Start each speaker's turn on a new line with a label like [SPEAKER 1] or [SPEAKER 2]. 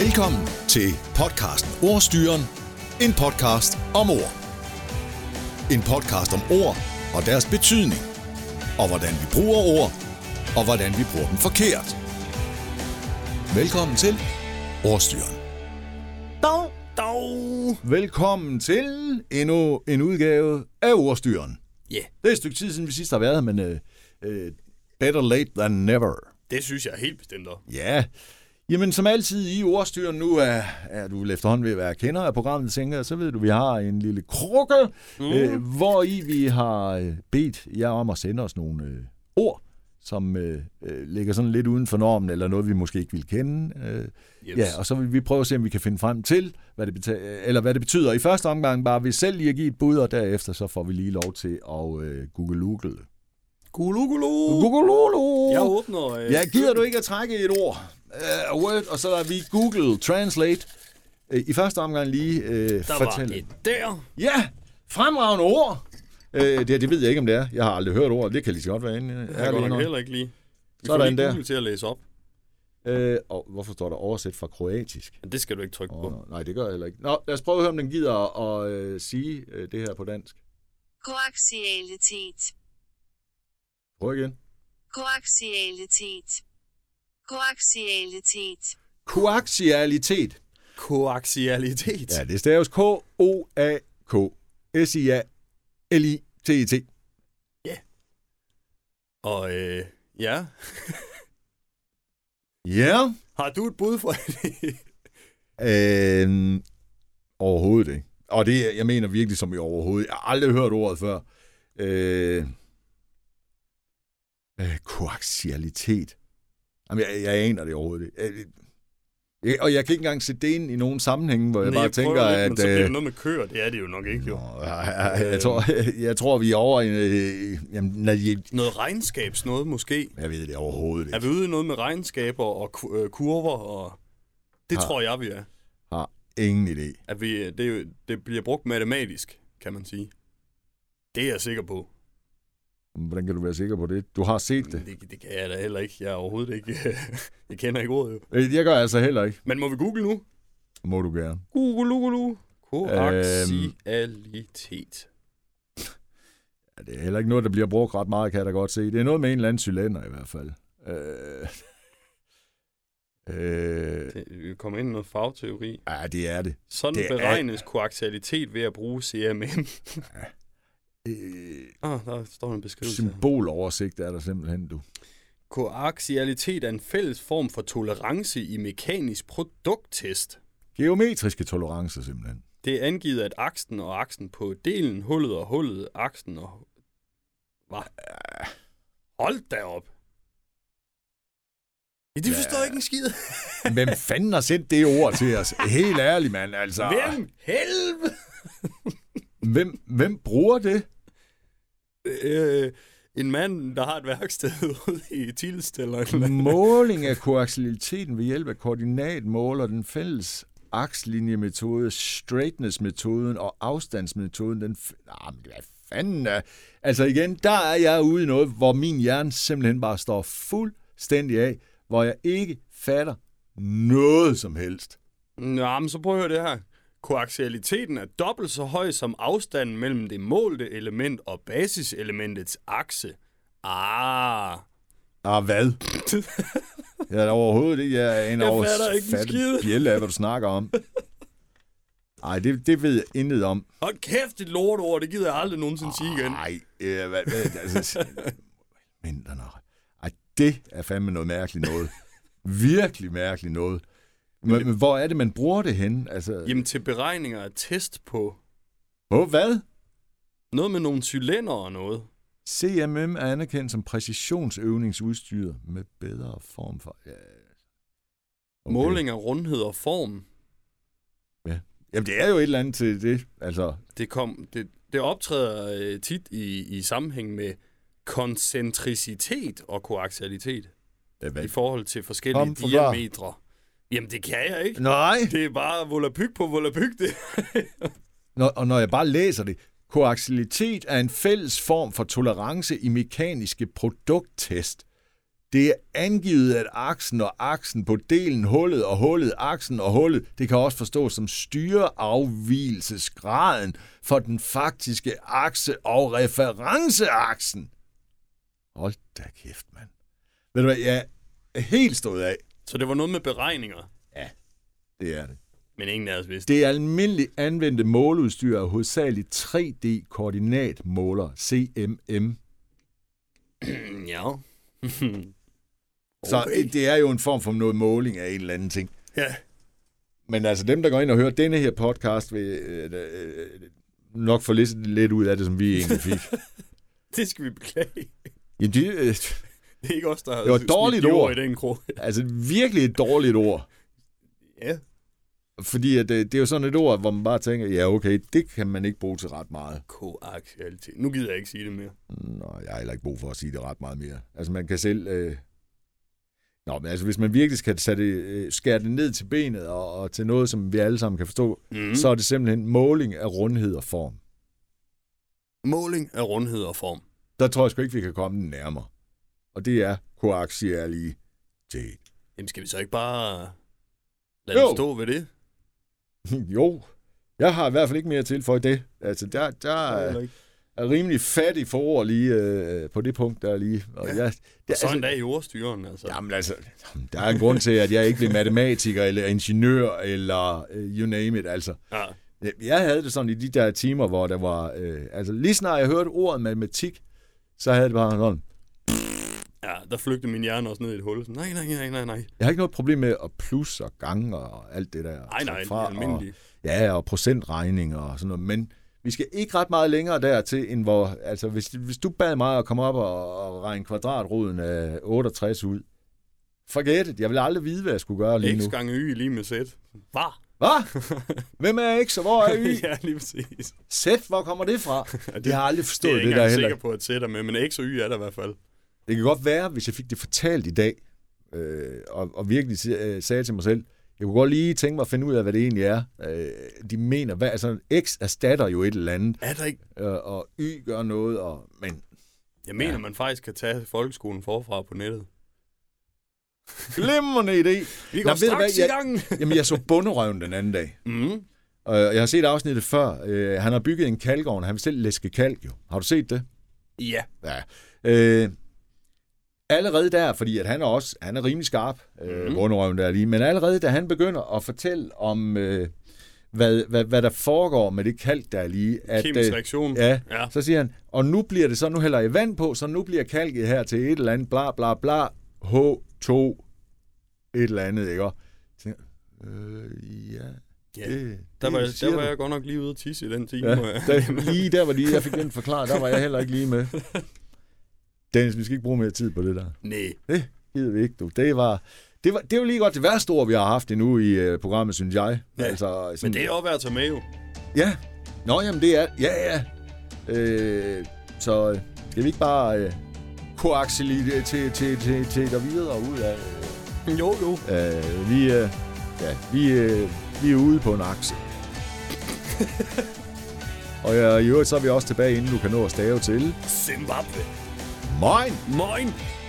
[SPEAKER 1] Velkommen til podcasten Ordstyren. En podcast om ord. En podcast om ord og deres betydning. Og hvordan vi bruger ord, og hvordan vi bruger dem forkert. Velkommen til Ordstyren.
[SPEAKER 2] Dag, dag. Velkommen til endnu en udgave af Ordstyren.
[SPEAKER 3] Ja, yeah,
[SPEAKER 2] Det er et stykke tid siden, vi sidst har været her, men øh, øh, better late than never.
[SPEAKER 3] det synes jeg helt bestemt også.
[SPEAKER 2] Ja, jamen som altid i Ordstyren nu er, er du vel efterhånden ved at være kender af programmet, tænker jeg, så ved du, vi har en lille krukke, mm. øh, hvor i vi har øh, bedt jer om at sende os nogle øh, ord, som øh, øh, ligger sådan lidt uden for normen, eller noget, vi måske ikke vil kende. Øh,
[SPEAKER 3] Jeps.
[SPEAKER 2] Ja, og så vil vi prøve at se, om vi kan finde frem til, hvad det, beta- eller hvad det betyder. I første omgang bare vi selv lige at give et bud, og derefter så får vi lige lov til at øh, google-google.
[SPEAKER 3] Gulu, gulu.
[SPEAKER 2] Google-google!
[SPEAKER 3] Jeg åbner... Øh,
[SPEAKER 2] Ja, uh. gider du ikke at trække et ord? Uh, word, og så er vi Google Translate. Uh, I første omgang lige uh,
[SPEAKER 3] Der
[SPEAKER 2] fortæl.
[SPEAKER 3] var et der.
[SPEAKER 2] Ja, fremragende ord. Uh, det, her, det ved jeg ikke, om det er. Jeg har aldrig hørt ordet. Det kan lige så godt være inde.
[SPEAKER 3] Jeg kan godt nok heller ikke lige. Vi
[SPEAKER 2] Så er
[SPEAKER 3] får
[SPEAKER 2] der
[SPEAKER 3] lige
[SPEAKER 2] en der.
[SPEAKER 3] Google til at læse op.
[SPEAKER 2] heller. Uh, og hvorfor står der oversæt fra kroatisk?
[SPEAKER 3] Men det skal du ikke trykke på.
[SPEAKER 2] Oh, nej, det gør jeg heller ikke. Nå, lad os prøve at høre, om den gider at uh, sige uh, det her på dansk.
[SPEAKER 4] Koaxialitet.
[SPEAKER 2] Prøv igen.
[SPEAKER 4] Koaxialitet. Koaxialitet.
[SPEAKER 2] Koaxialitet.
[SPEAKER 3] Koaxialitet.
[SPEAKER 2] Ja, det staves K-O-A-K. S-I-A-L-I-T-I-T. -T. -T.
[SPEAKER 3] Og øh, ja,
[SPEAKER 2] Ja.
[SPEAKER 3] har du et bud for
[SPEAKER 2] Øh, overhovedet ikke. Og det, er- jeg mener virkelig som i overhovedet. Jeg har aldrig hørt ordet før. Øh, øh, koaxialitet. Jamen, jeg, jeg aner det overhovedet ikke. Øh, Jeg, og jeg kan ikke engang sætte det ind i nogen sammenhænge, hvor jeg
[SPEAKER 3] Nej,
[SPEAKER 2] bare
[SPEAKER 3] prøver
[SPEAKER 2] tænker,
[SPEAKER 3] lidt,
[SPEAKER 2] at...
[SPEAKER 3] Men så bliver
[SPEAKER 2] øh,
[SPEAKER 3] det noget med køer. Det er det jo nok ikke, jo.
[SPEAKER 2] Nå, jeg, jeg, jeg, tror, jeg tror, vi er over i... Øh, jamen, nej, jeg,
[SPEAKER 3] Noget regnskabs noget måske.
[SPEAKER 2] jeg ved det overhovedet
[SPEAKER 3] Er
[SPEAKER 2] ikke.
[SPEAKER 3] vi ude i noget med regnskaber og ku- øh, kurver og... Det tror jeg, vi er.
[SPEAKER 2] Har ingen idé.
[SPEAKER 3] At vi, øh, det, er jo- det bliver brugt matematisk, kan man sige. Det er jeg sikker på.
[SPEAKER 2] Hvordan kan du være sikker på det? Du har set det.
[SPEAKER 3] Det, det kan jeg da heller ikke. Jeg er overhovedet ikke... jeg kender ikke ordet, jo.
[SPEAKER 2] Øh, Jeg gør altså heller ikke.
[SPEAKER 3] Men må vi google nu?
[SPEAKER 2] Må du gerne.
[SPEAKER 3] Google, google. Koaxialitet.
[SPEAKER 2] Øhm. Ja, det er heller ikke noget, der bliver brugt ret meget, kan jeg da godt se. Det er noget med en eller anden cylinder i hvert fald. Øh... Øh...
[SPEAKER 3] Øhm. Vi kommer ind i noget fagteori.
[SPEAKER 2] Ja, det er det.
[SPEAKER 3] Sådan
[SPEAKER 2] Det
[SPEAKER 3] det
[SPEAKER 2] er-
[SPEAKER 3] beregnes er... koaxialitet ved at bruge CMM.
[SPEAKER 2] Øh...
[SPEAKER 3] Ah, der står en beskrivelse. Symbol.
[SPEAKER 2] Symboloversigt er der simpelthen, du.
[SPEAKER 3] Koaxialitet er en fælles form for tolerance i mekanisk produkttest.
[SPEAKER 2] Geometriske tolerancer simpelthen.
[SPEAKER 3] Det er angivet, at aksen og aksen på delen, hullet og hullet, aksen og... Hvad? Hold da op. Ja, det forstår jeg ikke en skid.
[SPEAKER 2] Hvem fanden har sendt det ord til os? Helt ærligt, mand, altså.
[SPEAKER 3] Hvem helvede?
[SPEAKER 2] Hvem, hvem bruger det?
[SPEAKER 3] øh, en mand, der har et værksted ude i Tilst eller et eller andet.
[SPEAKER 2] Måling af koaxialiteten ved hjælp af koordinatmåler, den fælles akslinjemetode, straightness-metoden og afstandsmetoden, den... F- Nå, men hvad fanden er... Altså igen, der er jeg ude i noget, hvor min hjerne simpelthen bare står fuldstændig af, hvor jeg ikke fatter noget som helst.
[SPEAKER 3] Nå, men så prøv at høre det her. Koaxialiteten er dobbelt så høj som afstanden mellem det målte element og basiselementets akse. Ah.
[SPEAKER 2] Ah, hvad? Jeg er da overhovedet ikke. Jeg aner
[SPEAKER 3] Jeg
[SPEAKER 2] over
[SPEAKER 3] fatter ikke en
[SPEAKER 2] fatte
[SPEAKER 3] skid.
[SPEAKER 2] bjælle af, hvad du snakker om. Nej, det, det ved jeg intet om.
[SPEAKER 3] Hold kæft, et lortord, det gider jeg aldrig nogensinde sige igen.
[SPEAKER 2] Nej, øh, hvad, hvad, altså, menterne. Ej, det er fandme noget mærkeligt noget. Virkelig mærkeligt noget. Men, men hvor er det, man bruger det hen? Altså,
[SPEAKER 3] Jamen til beregninger af test på
[SPEAKER 2] på hvad?
[SPEAKER 3] noget med nogle cylinder og noget.
[SPEAKER 2] CMM er anerkendt som præcisionsøvningsudstyr med bedre form for... Ja.
[SPEAKER 3] Okay. Måling af rundhed og form.
[SPEAKER 2] Jamen, det er jo et eller andet til det. Altså,
[SPEAKER 3] Det, kom, det, det optræder øh, tit i, i sammenhæng med koncentricitet og koaxialitet.
[SPEAKER 2] det er
[SPEAKER 3] i
[SPEAKER 2] hvad?
[SPEAKER 3] forhold til forskellige
[SPEAKER 2] Kom,
[SPEAKER 3] Kom,
[SPEAKER 2] forklar.
[SPEAKER 3] diametre. Jamen, det kan jeg ikke.
[SPEAKER 2] Nej,
[SPEAKER 3] Det er bare volapyk på volapyk, det.
[SPEAKER 2] når, og når jeg bare læser det. Koaxilitet er en fælles form for tolerance i mekaniske produkttest. Det er angivet, at aksen og aksen på delen hullet og hullet, aksen og hullet, det kan også forstås som styreafvielsesgraden for den faktiske akse og referenceaksen. Hold da kæft, mand. Ved du hvad, jeg er helt stået af.
[SPEAKER 3] Så det var noget med beregninger,
[SPEAKER 2] Det er det.
[SPEAKER 3] men ingen af os vidste.
[SPEAKER 2] Det almindeligt anvendte måleudstyr er hovedsageligt 3D-koordinatmåler, CMM.
[SPEAKER 3] Mm, ja.
[SPEAKER 2] Så øh, det er jo en form for noget måling af en eller anden ting.
[SPEAKER 3] ja.
[SPEAKER 2] Men altså dem, der går ind og hører denne her podcast, vil øh, øh, nok få lidt, lidt ud af det, som vi egentlig fik.
[SPEAKER 3] Det skal vi beklage.
[SPEAKER 2] Jamen, det, øh,
[SPEAKER 3] Det er ikke os, der har
[SPEAKER 2] Det var et
[SPEAKER 3] smidt
[SPEAKER 2] dårligt
[SPEAKER 3] de
[SPEAKER 2] ord.
[SPEAKER 3] i den krog.
[SPEAKER 2] altså virkelig et dårligt ord.
[SPEAKER 3] ja.
[SPEAKER 2] Fordi at, øh, det er jo sådan et ord, hvor man bare tænker, ja okay, det kan man ikke bruge til ret meget.
[SPEAKER 3] Koaxialitet. Nu gider jeg ikke sige det mere.
[SPEAKER 2] Nå, jeg har heller ikke brug for at sige det ret meget mere. Altså, man kan selv... Øh... Nå, men altså, hvis man virkelig skal tage det, øh, skære det ned til benet og, og til noget, som vi alle sammen kan forstå, mm. så er det simpelthen måling af rundhed og form.
[SPEAKER 3] Måling af rundhed og form.
[SPEAKER 2] Der tror jeg sgu ikke, vi kan komme den nærmere. Og det er koaxialitet.
[SPEAKER 3] Jamen skal vi så ikke bare lade
[SPEAKER 2] Jo.
[SPEAKER 3] det stå ved det?
[SPEAKER 2] jo, jeg har i hvert fald ikke mere til for det. Altså, der, der
[SPEAKER 3] Eller
[SPEAKER 2] er,
[SPEAKER 3] ikke?
[SPEAKER 2] er rimelig fattig for ord lige øh, på det punkt, der er lige. Og ja. jeg, altså, det,
[SPEAKER 3] Så en dag i ordstyren, altså.
[SPEAKER 2] Jamen altså, der er en grund til, at jeg ikke blev matematiker eller ingeniør eller øh, you name it, altså.
[SPEAKER 3] Ja.
[SPEAKER 2] Jeg havde det sådan i de der timer, hvor der var... Øh, altså, lige snart jeg hørte ordet matematik, så havde det bare sådan...
[SPEAKER 3] ja, der flygtede min hjerne også ned i et hul. Sådan, nej, nej, nej, nej, nej.
[SPEAKER 2] Jeg har ikke noget problem med at plus og gange og alt det der. og trække
[SPEAKER 3] Nej, nej, det
[SPEAKER 2] fra,
[SPEAKER 3] er almindeligt.
[SPEAKER 2] Og, ja, og procentregninger og sådan noget. Men vi skal ikke ret meget længere dertil, end hvor... Altså, hvis, hvis du bad mig at komme op og, og regne kvadratroden af 68 ud, forget det. Jeg vil aldrig vide, hvad jeg skulle gøre lige nu.
[SPEAKER 3] X gange y lige med z. Hvad?
[SPEAKER 2] Hvad? Hvem er X, og hvor er Y?
[SPEAKER 3] ja, lige præcis.
[SPEAKER 2] Z, hvor kommer det fra? det, jeg har aldrig
[SPEAKER 3] Det er
[SPEAKER 2] forstået
[SPEAKER 3] jeg
[SPEAKER 2] det,
[SPEAKER 3] ikke
[SPEAKER 2] der
[SPEAKER 3] engang
[SPEAKER 2] heller.
[SPEAKER 3] sikker på, at z er med, men x og y er der i hvert fald.
[SPEAKER 2] Det kan godt være, hvis jeg fik det fortalt i dag, øh, og, og virkelig si- øh, sagde til mig selv, jeg kunne godt lige tænke mig at finde ud af, hvad det egentlig er, øh, de mener. Hvad, altså, X erstatter jo et eller andet,
[SPEAKER 3] Er der ikke?
[SPEAKER 2] øh, og Y gør noget, og, men
[SPEAKER 3] Jeg mener, man faktisk kan tage folkeskolen forfra på nettet.
[SPEAKER 2] glimrende idé. Nå,
[SPEAKER 3] Vi går
[SPEAKER 2] ved du hvad,
[SPEAKER 3] straks i
[SPEAKER 2] jeg- Mm-hmm.
[SPEAKER 3] gang!
[SPEAKER 2] Jamen, jeg så bunderøven den anden dag,
[SPEAKER 3] mm.
[SPEAKER 2] og jeg har set afsnittet før. Øh, han har bygget en kalkovn, han vil selv læske kalk jo. Har du set det?
[SPEAKER 3] Ja.
[SPEAKER 2] Ja. Øh, allerede der, fordi at han er også han er rimelig skarp, øh,
[SPEAKER 3] Mhm.
[SPEAKER 2] mm. rundrøven der lige, men allerede da han begynder at fortælle om, øh, hvad, hvad, hvad der foregår med det kalk, der er lige, at, øh,
[SPEAKER 3] Kemisk reaktion.
[SPEAKER 2] ja,
[SPEAKER 3] Ja.
[SPEAKER 2] ja. så siger han, og nu bliver det så, nu hælder jeg vand på, så nu bliver kalket her til et eller andet, bla bla bla, H2, et eller andet, ikke? Og jeg tænker, øh, ja,
[SPEAKER 3] Ja.
[SPEAKER 2] det,
[SPEAKER 3] Der var,
[SPEAKER 2] det siger
[SPEAKER 3] der var
[SPEAKER 2] du.
[SPEAKER 3] jeg godt nok lige ude at tisse i den time.
[SPEAKER 2] Ja,
[SPEAKER 3] hvor jeg-
[SPEAKER 2] der, lige der var lige, jeg fik den forklaret, der var jeg heller ikke lige med. Dennis, vi skal ikke bruge mere tid på det der.
[SPEAKER 3] Nej.
[SPEAKER 2] Det gider vi ikke, du. Det var, det var, det var lige godt det værste ord, vi har haft endnu i uh, programmet, synes jeg.
[SPEAKER 3] Ja,
[SPEAKER 2] altså,
[SPEAKER 3] Men det er også værd at tage med jo.
[SPEAKER 2] Ja. Nå, jamen det er... Ja, ja. Øh, så øh, skal vi ikke bare øh, koaxelige til, til, til, til, til der videre ud af...
[SPEAKER 3] Jo, jo.
[SPEAKER 2] Øh, vi, øh, ja, vi, øh, vi er ude på en akse. Og øh, ja, i øvrigt, så er vi også tilbage, inden du kan nå at stave til.
[SPEAKER 3] Zimbabwe.
[SPEAKER 2] Moin!
[SPEAKER 3] Moin.